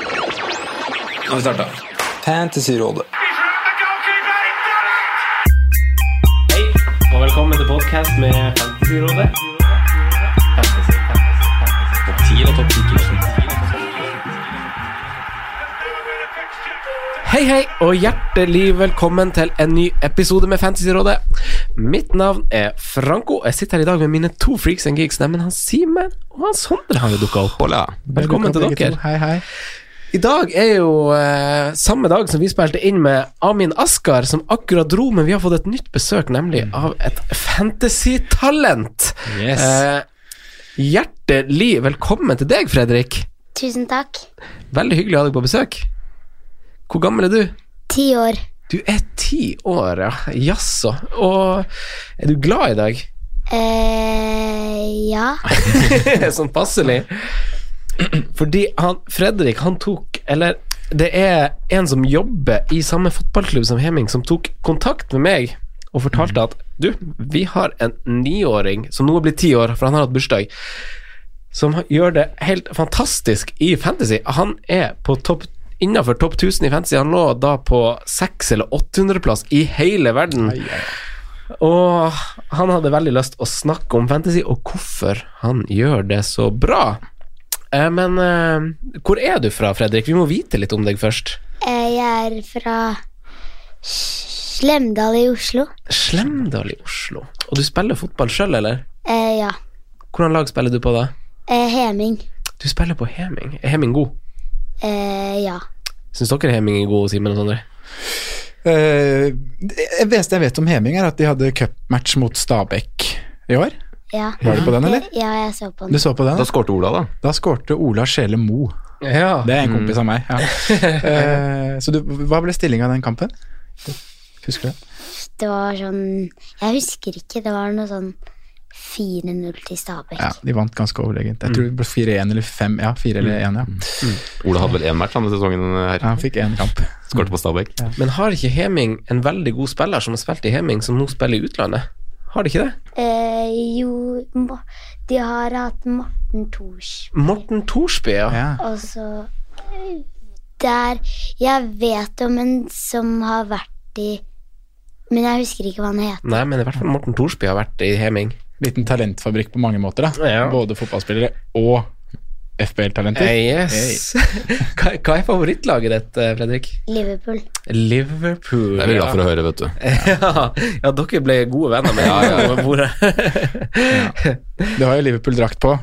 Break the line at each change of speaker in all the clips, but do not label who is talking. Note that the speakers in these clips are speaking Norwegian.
Nå har vi starta.
Fantasyrådet.
Hei, og velkommen til podcast med Fantasyrådet. Topp 10 og topp 10 Hei, hei, og hjertelig velkommen til en ny episode med Fantasyrådet. Mitt navn er Franco, og jeg sitter her i dag med mine to freaks and geeks, nemlig han Simen og han Sondre har jo dukket opp.
Hola.
Velkommen til dere.
Hei, hei.
I dag er jo eh, samme dag som vi spilte inn med Amin Askar, som akkurat dro, men vi har fått et nytt besøk, nemlig av et fantasy-talent.
Mm. Yes.
Eh, hjertelig velkommen til deg, Fredrik.
Tusen takk.
Veldig hyggelig å ha deg på besøk. Hvor gammel er du?
Ti år.
Du er ti år, ja. Jaså. Og er du glad i dag?
Eh, ja.
sånn passelig. Fordi han, Fredrik, han tok Eller det er en som jobber i samme fotballklubb som Heming, som tok kontakt med meg og fortalte at du, vi har en niåring som nå er blitt ti år, for han har hatt bursdag, som gjør det helt fantastisk i Fantasy. Han er på topp Innafor topp 1000 i Fantasy. Han lå da på 600- eller 800-plass i hele verden. Og han hadde veldig lyst å snakke om fantasy, og hvorfor han gjør det så bra. Eh, Men eh, hvor er du fra, Fredrik? Vi må vite litt om deg først.
Eh, jeg er fra S- Slemdal i Oslo.
Slemdal i Oslo. Og du spiller fotball sjøl, eller?
Eh, ja.
Hvordan lag spiller du på, da?
Eh, Heming.
Du spiller på Heming. Er Heming god?
Eh, ja.
Syns dere Heming er god, Simen og Sondre?
Eh, det beste jeg vet om Heming, er at de hadde cupmatch mot Stabæk i år.
Ja.
Var du på den, eller?
Ja, jeg så på
Du
den.
så på den?
Da skårte Ola, da.
Da skårte Ola Sjele Mo.
Ja.
Det er en kompis av meg. Ja. Eh, så du, hva ble stillinga i den kampen? Husker du det?
Det var sånn Jeg husker ikke. Det var noe sånn 4-0 til Stabæk.
Ja, de vant ganske overlegent. Jeg tror det ble 4-1 eller 5. Ja, 4 eller 1, ja.
Ola hadde vel én match denne sesongen her.
ja han fikk én kamp.
Skårte på Stabæk.
Men har ikke Heming en veldig god spiller som har spilt i Heming, som nå spiller i utlandet? Har de ikke det?
Eh, jo Ma- De har hatt Morten Thors.
Morten Thorsby, ja.
Ja.
Og så eh, Der Jeg vet om en som har vært i Men jeg husker ikke hva han heter.
Nei, men i hvert fall Morten Thorsby har vært i Heming.
Liten talentfabrikk på mange måter, da.
Ja.
Både fotballspillere og FBL-talenter.
Eh, yes. Hva, hva er favorittlaget ditt, eh, Fredrik?
Liverpool.
Liverpool.
Det er vi glad for å høre, vet du.
Ja, ja dere ble gode venner med
Ja, ja.
over bordet.
Du har jo Liverpool-drakt på.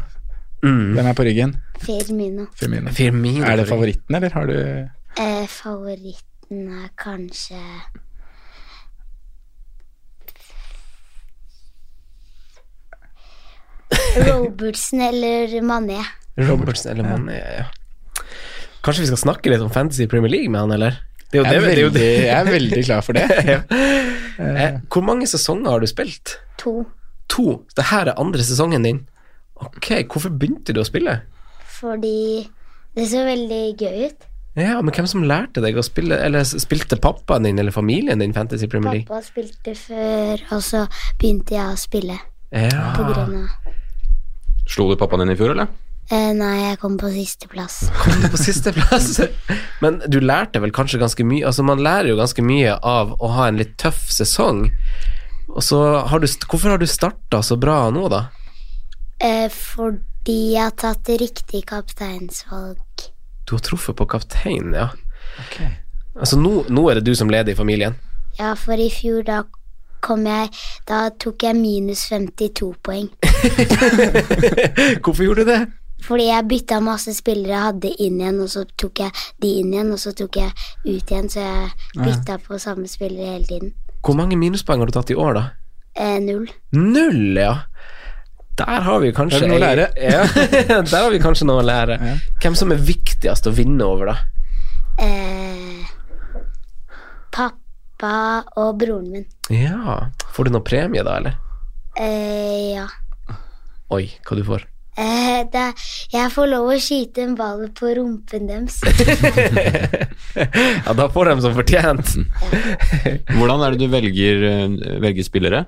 Mm.
Den er på ryggen.
Firmino.
Firmino.
Firmino.
Er det favoritten, eller har du
Eh, favoritten er kanskje Robertsen eller Mané.
Robertsen eller Mané, ja. Kanskje vi skal snakke litt om Fantasy Premier League med han, eller? Det er jo
jeg
det,
er,
det, er jo
veldig,
det.
jeg er veldig klar for det.
Eh, Hvor mange sesonger har du spilt?
To.
To. Dette er andre sesongen din. Ok, hvorfor begynte du å spille?
Fordi det så veldig gøy ut.
Ja, men hvem som lærte deg å spille, eller spilte pappaen din eller familien din Fantasy Premier League?
Pappa spilte før, og så begynte jeg å spille. På
Ja.
grunn av
Slo du pappaen din i fjor, eller?
eh, Nei, jeg kom på sisteplass.
kom du på sisteplass. Men du lærte vel kanskje ganske mye Altså Man lærer jo ganske mye av å ha en litt tøff sesong. Og så har du, st- Hvorfor har du starta så bra nå, da?
Eh, fordi jeg har tatt riktig kapteinsvalg.
Du har truffet på kapteinen, ja. Altså nå, nå er det du som leder i familien.
Ja, for i fjor da kom jeg Da tok jeg minus 52 poeng.
Hvorfor gjorde du det?
Fordi jeg bytta masse spillere jeg hadde inn igjen, og så tok jeg de inn igjen, og så tok jeg ut igjen, så jeg bytta på samme spillere hele tiden.
Hvor mange minuspoeng har du tatt i år, da?
Eh, null.
Null, ja. Der har vi kanskje
Der er det noe å lære.
Ja, der har vi kanskje noe å lære.
Ja.
Hvem som er viktigst å vinne over, da?
Eh, pappa og broren min.
Ja. Får du noe premie, da, eller?
Eh, ja.
Oi, hva du får.
Eh, det, jeg får lov å skyte en ball på rumpen deres.
Ja, da får de som fortjent.
Hvordan er det du velger, eh, velger spillere?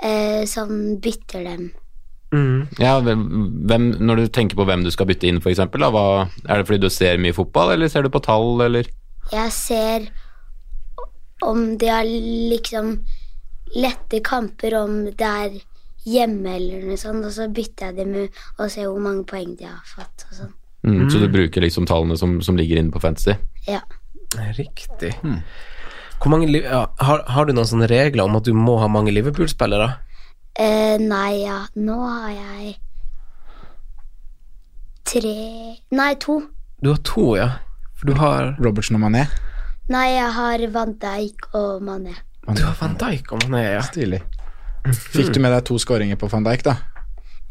Eh, sånn bytter dem.
Mm.
Ja, hvem, hvem, når du tenker på hvem du skal bytte inn, for eksempel, da, hva, er det fordi du ser mye fotball, eller ser du på tall, eller
Jeg ser om de har liksom lette kamper, om det er hjemme eller noe sånt, og så bytter jeg dem ut og ser hvor mange poeng de har fått og sånn.
mm, Så du bruker liksom tallene som, som ligger inne på Fantasy?
Ja.
Riktig. Hvor mange, Liv- ja, har, har du noen sånne regler om at du må ha mange Liverpool-spillere?
Eh, nei, ja, nå har jeg tre Nei, to.
Du har to, ja. For du har
Robertsen og Mané.
Nei, jeg har Van Dijk og Mané.
Du har Van Dijk og Mané, ja.
Stilig. Fikk du med deg to skåringer på van Dijk, da?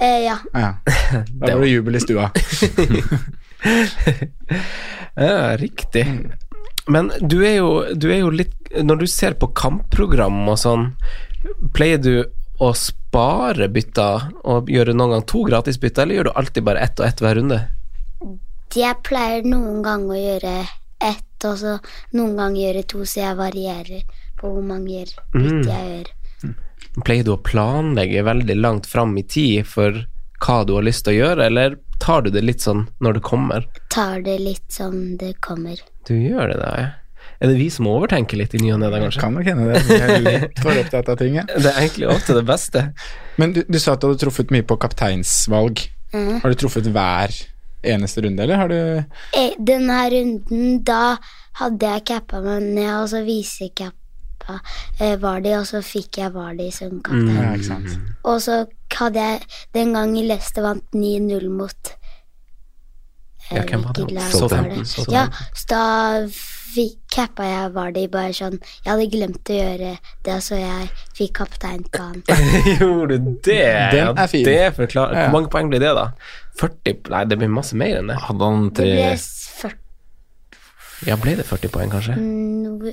Eh, ja.
Ja. Da var det jubel i stua.
Ja, riktig. Hmm. Men du er, jo, du er jo litt Når du ser på kampprogram og sånn, pleier du å spare bytter og gjøre noen gang to gratisbytter, eller gjør du alltid bare ett og ett hver runde?
Jeg pleier noen ganger å gjøre ett, og så noen ganger gjøre to, så jeg varierer på hvor mange gjør- bytter jeg gjør.
Pleier du å planlegge veldig langt fram i tid for hva du har lyst til å gjøre, eller tar du det litt sånn når det kommer?
Tar det litt som det kommer.
Du gjør det, da. ja. Er det vi som overtenker litt i ny og ne, da, kanskje?
Kan nok hende det. Jeg er litt for opptatt av ting, jeg.
Det er egentlig ofte det beste.
Men du, du sa at du hadde truffet mye på kapteinsvalg.
Mhm.
Har du truffet hver eneste runde, eller har du
Eh, Denne runden, da hadde jeg cappa meg ned, og så visecappa eh, Vardi, og så fikk jeg Vardi som kaptein.
Ja, ikke sant.
Og så hadde jeg den gangen Leicester vant 9-0 mot eh,
Ja, hvem var det?
hvilket lag
Southampton.
var det?
Southampton.
Ja, så da fikk, cappa jeg Vardi bare sånn Jeg hadde glemt å gjøre det, så jeg fikk kaptein på han.
Gjorde du det?
Den er fin.
Det forklarer.
Ja.
Hvor mange poeng blir det, da? 40? Nei, det blir masse mer enn det.
Hadde han
Det
tre
ble s- 40,
Ja, ble det 40 poeng, kanskje?
noe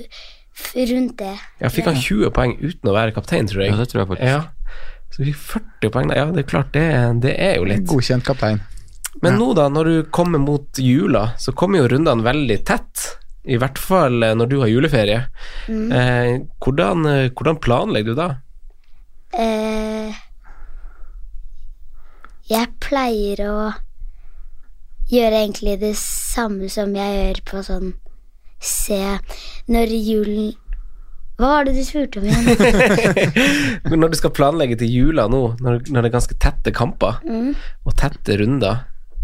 f- rundt det.
Ja, fikk han 20 poeng uten å være kaptein, tror jeg.
Ja, det tror jeg faktisk.
Ja. Så vi fikk 40 poeng, da. Ja, det er klart, det, det er jo litt.
Godkjent kaptein.
Men nå, da, når du kommer mot jula, så kommer jo rundene veldig tett. I hvert fall eh, når du har juleferie. Eh, hvordan, eh, hvordan planlegger du da?
Eh, jeg pleier å gjøre egentlig det samme som jeg gjør på sånn Se når julen Hva var det du spurte om igjen?
Men når du skal planlegge til jula nå, når, når det er ganske tette kamper og tette runder,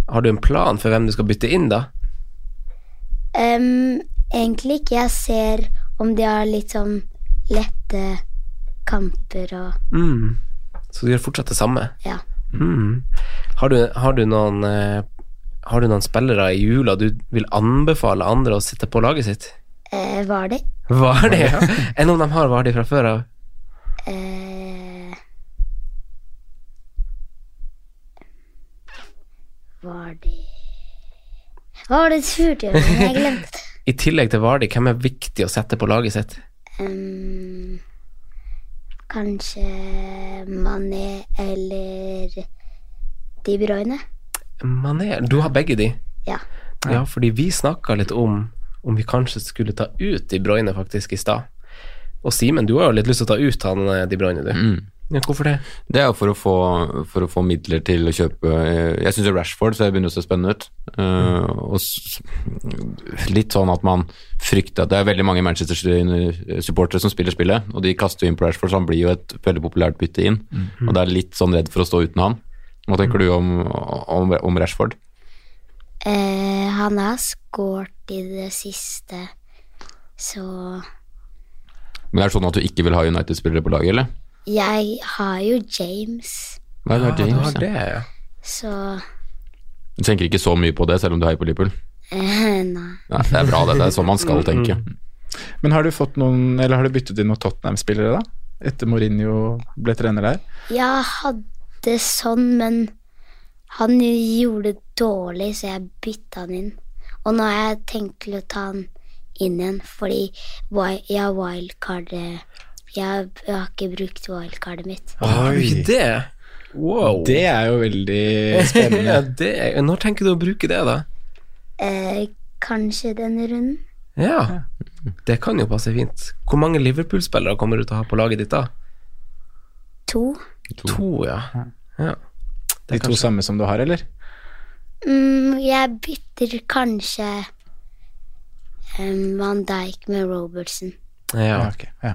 har du en plan for hvem du skal bytte inn da?
Em, egentlig ikke. Jeg ser om de har litt sånn lette kamper og
Mm. Så du gjør fortsatt det samme?
Ja.
Mm. Har, du, har, du noen, eh, har du noen spillere i jula du vil anbefale andre å sitte på laget sitt?
Eh, var det?
Var det? ja? Enn om de har Vardi fra før av?
Eh, var det Hva var det du spurte om? igjen? Jeg glemte.
I tillegg til Vardi, hvem er viktig å sette på laget sitt?
Ehm, kanskje Mané eller De Bruyne?
Mané, du har begge de.
Ja.
Ja, fordi vi snakka litt om om vi kanskje skulle ta ut De Bruyne faktisk i stad. Og Simen, du har jo litt lyst til å ta ut han eh, De Bruyne, du. Ja, hvorfor det?
Det er jo for å få, for å få midler til å kjøpe eh, Jeg syns Rashford ser begynner å se spennende ut. Eh, og s- litt sånn at man frykter at Det er veldig mange Manchester-supportere som spiller spillet, og de kaster jo inn på Rashford, så han blir jo et veldig populært bytte inn. Og det er litt sånn redd for å stå uten han. Hva tenker du om, om, om Rashford?
Eh, han har skåret i det siste, så
Men er det sånn at du ikke vil ha United-spillere på laget, eller?
Jeg har jo James,
Nei, det er
Ja,
James.
du har
ja.
det, ja.
så
Du tenker ikke så mye på det, selv om du heier på Liverpool?
eh, Nei.
Nei, det er bra, det. Det er sånn man skal tenke.
Men har du fått noen Eller har du byttet inn noen Tottenham-spillere, da? Etter Mourinho ble trener der?
Jeg hadde sånn, men han gjorde det dårlig, så jeg bytta han inn. Og nå har jeg tenkt til å ta han inn igjen, fordi wi- jeg har wildcardet jeg har, jeg har ikke brukt wildcardet mitt.
Å, har du ikke det? Wow.
Det er jo veldig
ja,
spennende.
det er, når tenker du å bruke det, da?
Eh, kanskje denne runden?
Ja. Det kan jo passe fint. Hvor mange Liverpool-spillere kommer du til å ha på laget ditt, da?
To?
To, ja. ja.
De to samme som du har, eller?
Mm, jeg bytter kanskje um, Van Dijk med Robertson.
Ja.
ok. Ja.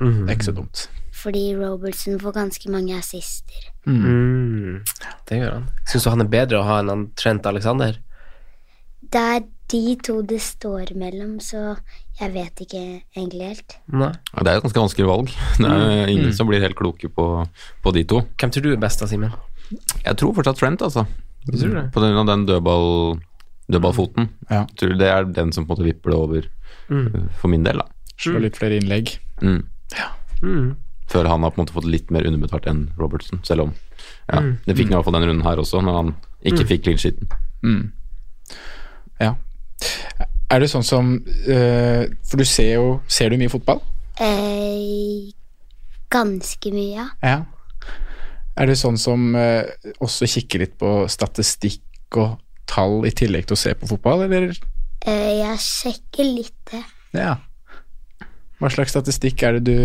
Mm.
Mhm.
Det er ikke så dumt.
Fordi Robertson får ganske mange assister.
Mm. Det gjør han. Syns du han er bedre å ha enn han Trent Alexander?
Det er de to det står mellom, så jeg vet ikke egentlig helt.
Nei.
Ja, det er et ganske vanskelig valg. Det
Mm.
er ingen som blir helt kloke på, på de to.
Hvem tror du er best da, Simen?
Jeg tror fortsatt Trent, altså.
Du tror det?
På grunn av den dødball, dødballfoten.
Ja.
Jeg Tror det er den som på en måte vipper det over eh, for min del, da.
Slå litt flere innlegg.
Mm.
Mm.
Føler han har på en måte fått litt mer underbetalt enn Robertson, selv om ja,
Mm.
det fikk han i hvert fall denne runden her også, når han ikke fikk clean sheeten.
Ja. Er det sånn som eh, For du ser jo Ser du mye fotball?
Eh, ganske mye, ja.
Ja. Er det sånn som eh, også kikker litt på statistikk og tall i tillegg til å se på fotball, eller?
Eh, jeg sjekker litt det.
Ja. Hva slags statistikk er det du,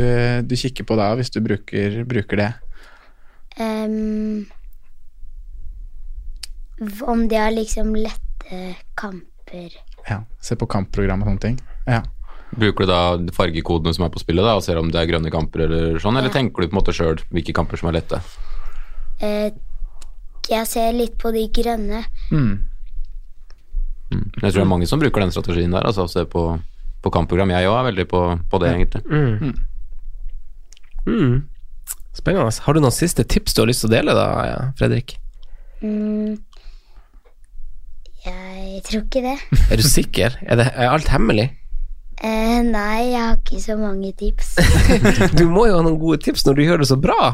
du kikker på da, hvis du bruker, bruker det?
Em, v- om de har liksom lette kamper.
Ja. Se på kampprogram og sånne ting. Ja.
Bruker du da fargekodene som er på spillet, da, og ser om det er grønne kamper eller sånn, eller tenker du på en måte sjøl hvilke kamper som er lette?
Eh, jeg ser litt på de grønne.
Mm.
Jeg tror det er mange som bruker den strategien der, altså å se på, på kampprogram. Jeg òg er veldig på, på det, egentlig.
Mm. Spennende. Har du noen siste tips du har lyst til å dele, da, Fredrik?
Mm, jeg tror ikke det.
Er du sikker? Er, det, er alt hemmelig?
Eh, nei, jeg har ikke så mange tips.
Du må jo ha noen gode tips når du gjør det så bra.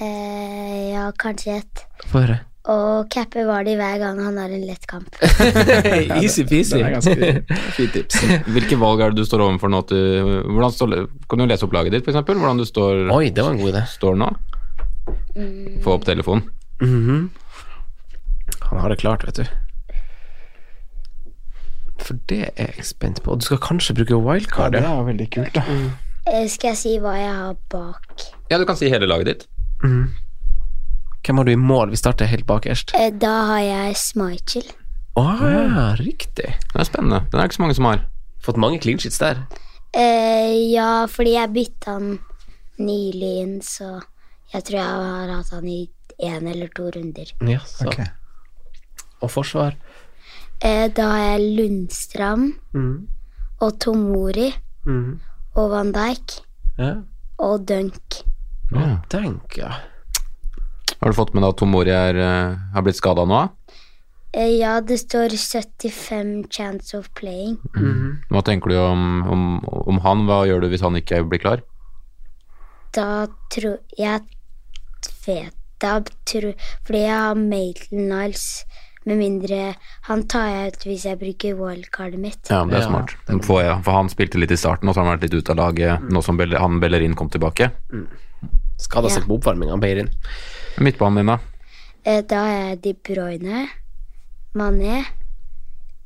Eh, ja, kanskje et.
Få høre.
Og cappe var det hver gang han har en lett kamp.
Det
Easy-peasy.
er ganske fint tips.
Hvilke valg er det du står overfor nå? Til, hvordan står, kan du lese opp laget ditt, f.eks.? Hvordan du står,
Oi, det var en god idé.
står nå? Få opp telefonen.
Mhm. Han har det klart, vet du. For det er jeg spent på. Og Du skal kanskje bruke
Ja,
wildcard?
det
Ja,
er jo veldig kult, da.
Eh, skal jeg si hva jeg har bak?
Ja, du kan si hele laget ditt.
Hvem har du i mål? Vi starter helt bakerst.
Eh, da har jeg Smichel.
Å, riktig.
Det er spennende. Den er ikke så mange som har.
Fått mange clean sheets der.
Eh, ja, fordi jeg bytta han nylig inn, så jeg tror jeg har hatt han i én eller to runder.
Ja, så.
Ok.
Og forsvar.
Eh, da har jeg Lundstrand
Mhm.
og Tomori
Mhm.
og Van Dijk
Ja.
og Dunk.
Ja.
Tenk, ja.
Har du fått med deg at Tomori er, eh, har blitt skada nå?
Eh, ja, det står 75 chance of playing.
Hva tenker du om, om, om han? Hva gjør du hvis han ikke blir klar?
Da tror Jeg vet da tror Fordi jeg har Maitland Niles. Med mindre han tar jeg ut hvis jeg bruker wildcardet mitt.
Ja, det er
Ja,
smart. For, ja, for han spilte litt i starten, og så har han vært litt ute av laget nå som Bell- han Bellerin kom tilbake.
Skada seg på oppvarminga, Beirin.
Midtbanen din, da?
Eh, Da har jeg De Bruyne, Mané,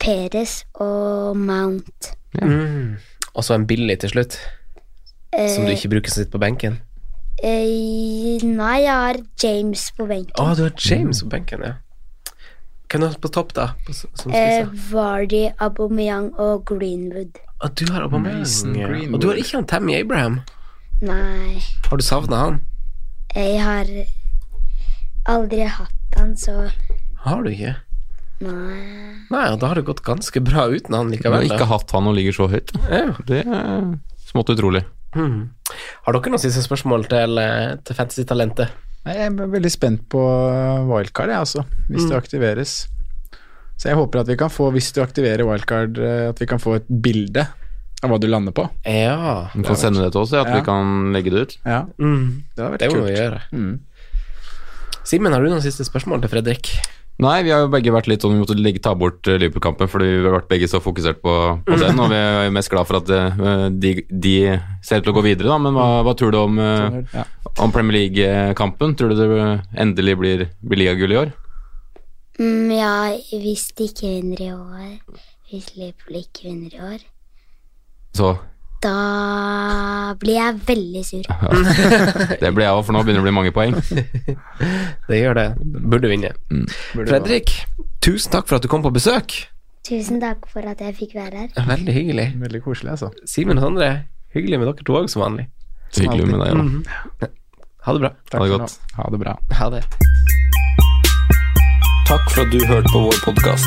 Perez og Mount.
Og så en billig til slutt,
Eh,
som du ikke bruker som sitter på benken.
eh, nei, jeg har James på benken.
Å, du har James på benken, ja. Hvem er på topp, da? På, s- som
Eh,
spisser?
Vardy, Aubameyang og Greenwood.
Å, du har Aubameyang.
Mason Greenwood.
Og du har ikke han Tammy Abraham.
Nei,
Har du savna han?
jeg har aldri hatt han, så
Har du ikke?
nei.
Nei, og da har det gått ganske bra uten han
Du har
likevel.
ikke
Da.
hatt han og ligger så høyt.
Ja.
Det er smått utrolig.
Mm. Har dere noen siste spørsmål til, eh, til Fantasy-talentet?
Nei, Jeg er veldig spent på wildcard, jeg, altså. Hvis
Mm.
det aktiveres. Så jeg håper at vi kan få, hvis du aktiverer wildcard, eh, at vi kan få et bilde av hva du lander på.
Ja.
Du kan sende det til oss, ja, at
Ja.
vi kan legge det ut.
Ja,
Mm.
det hadde
Det
vært
må
kult.
vi gjøre.
Mm.
Simen, har du noen siste spørsmål til Fredrik?
Nei, vi har jo begge vært litt sånn Vi måtte legge, ta bort eh, Liverpool-kampen fordi vi har vært begge så fokusert på, på den. Og vi er mest glad for at eh, de, de ser ut til å gå videre, da. Men hva, hva tror du om, eh,
Ja.
om Premier League-kampen? Tror du det eh, endelig blir, blir ligagull i år?
Mm, ja, hvis de ikke vinner i år Hvis Liverpool ikke vinner i år,
Så
Da blir jeg veldig sur.
Det ble jeg òg, for nå begynner det å bli mange poeng.
Det gjør det. Burde vinne. Fredrik, tusen takk for at du kom på besøk.
Tusen takk for at jeg fikk være her.
Veldig hyggelig.
Veldig koselig, altså.
Simen og Sondre, hyggelig med dere to òg, som vanlig.
Hyggelig med deg òg.
Ha det bra.
Mm, Takk
Ha det
for
godt.
nå. Ha det bra.
Ha det.
Takk for at du hørte på vår podkast.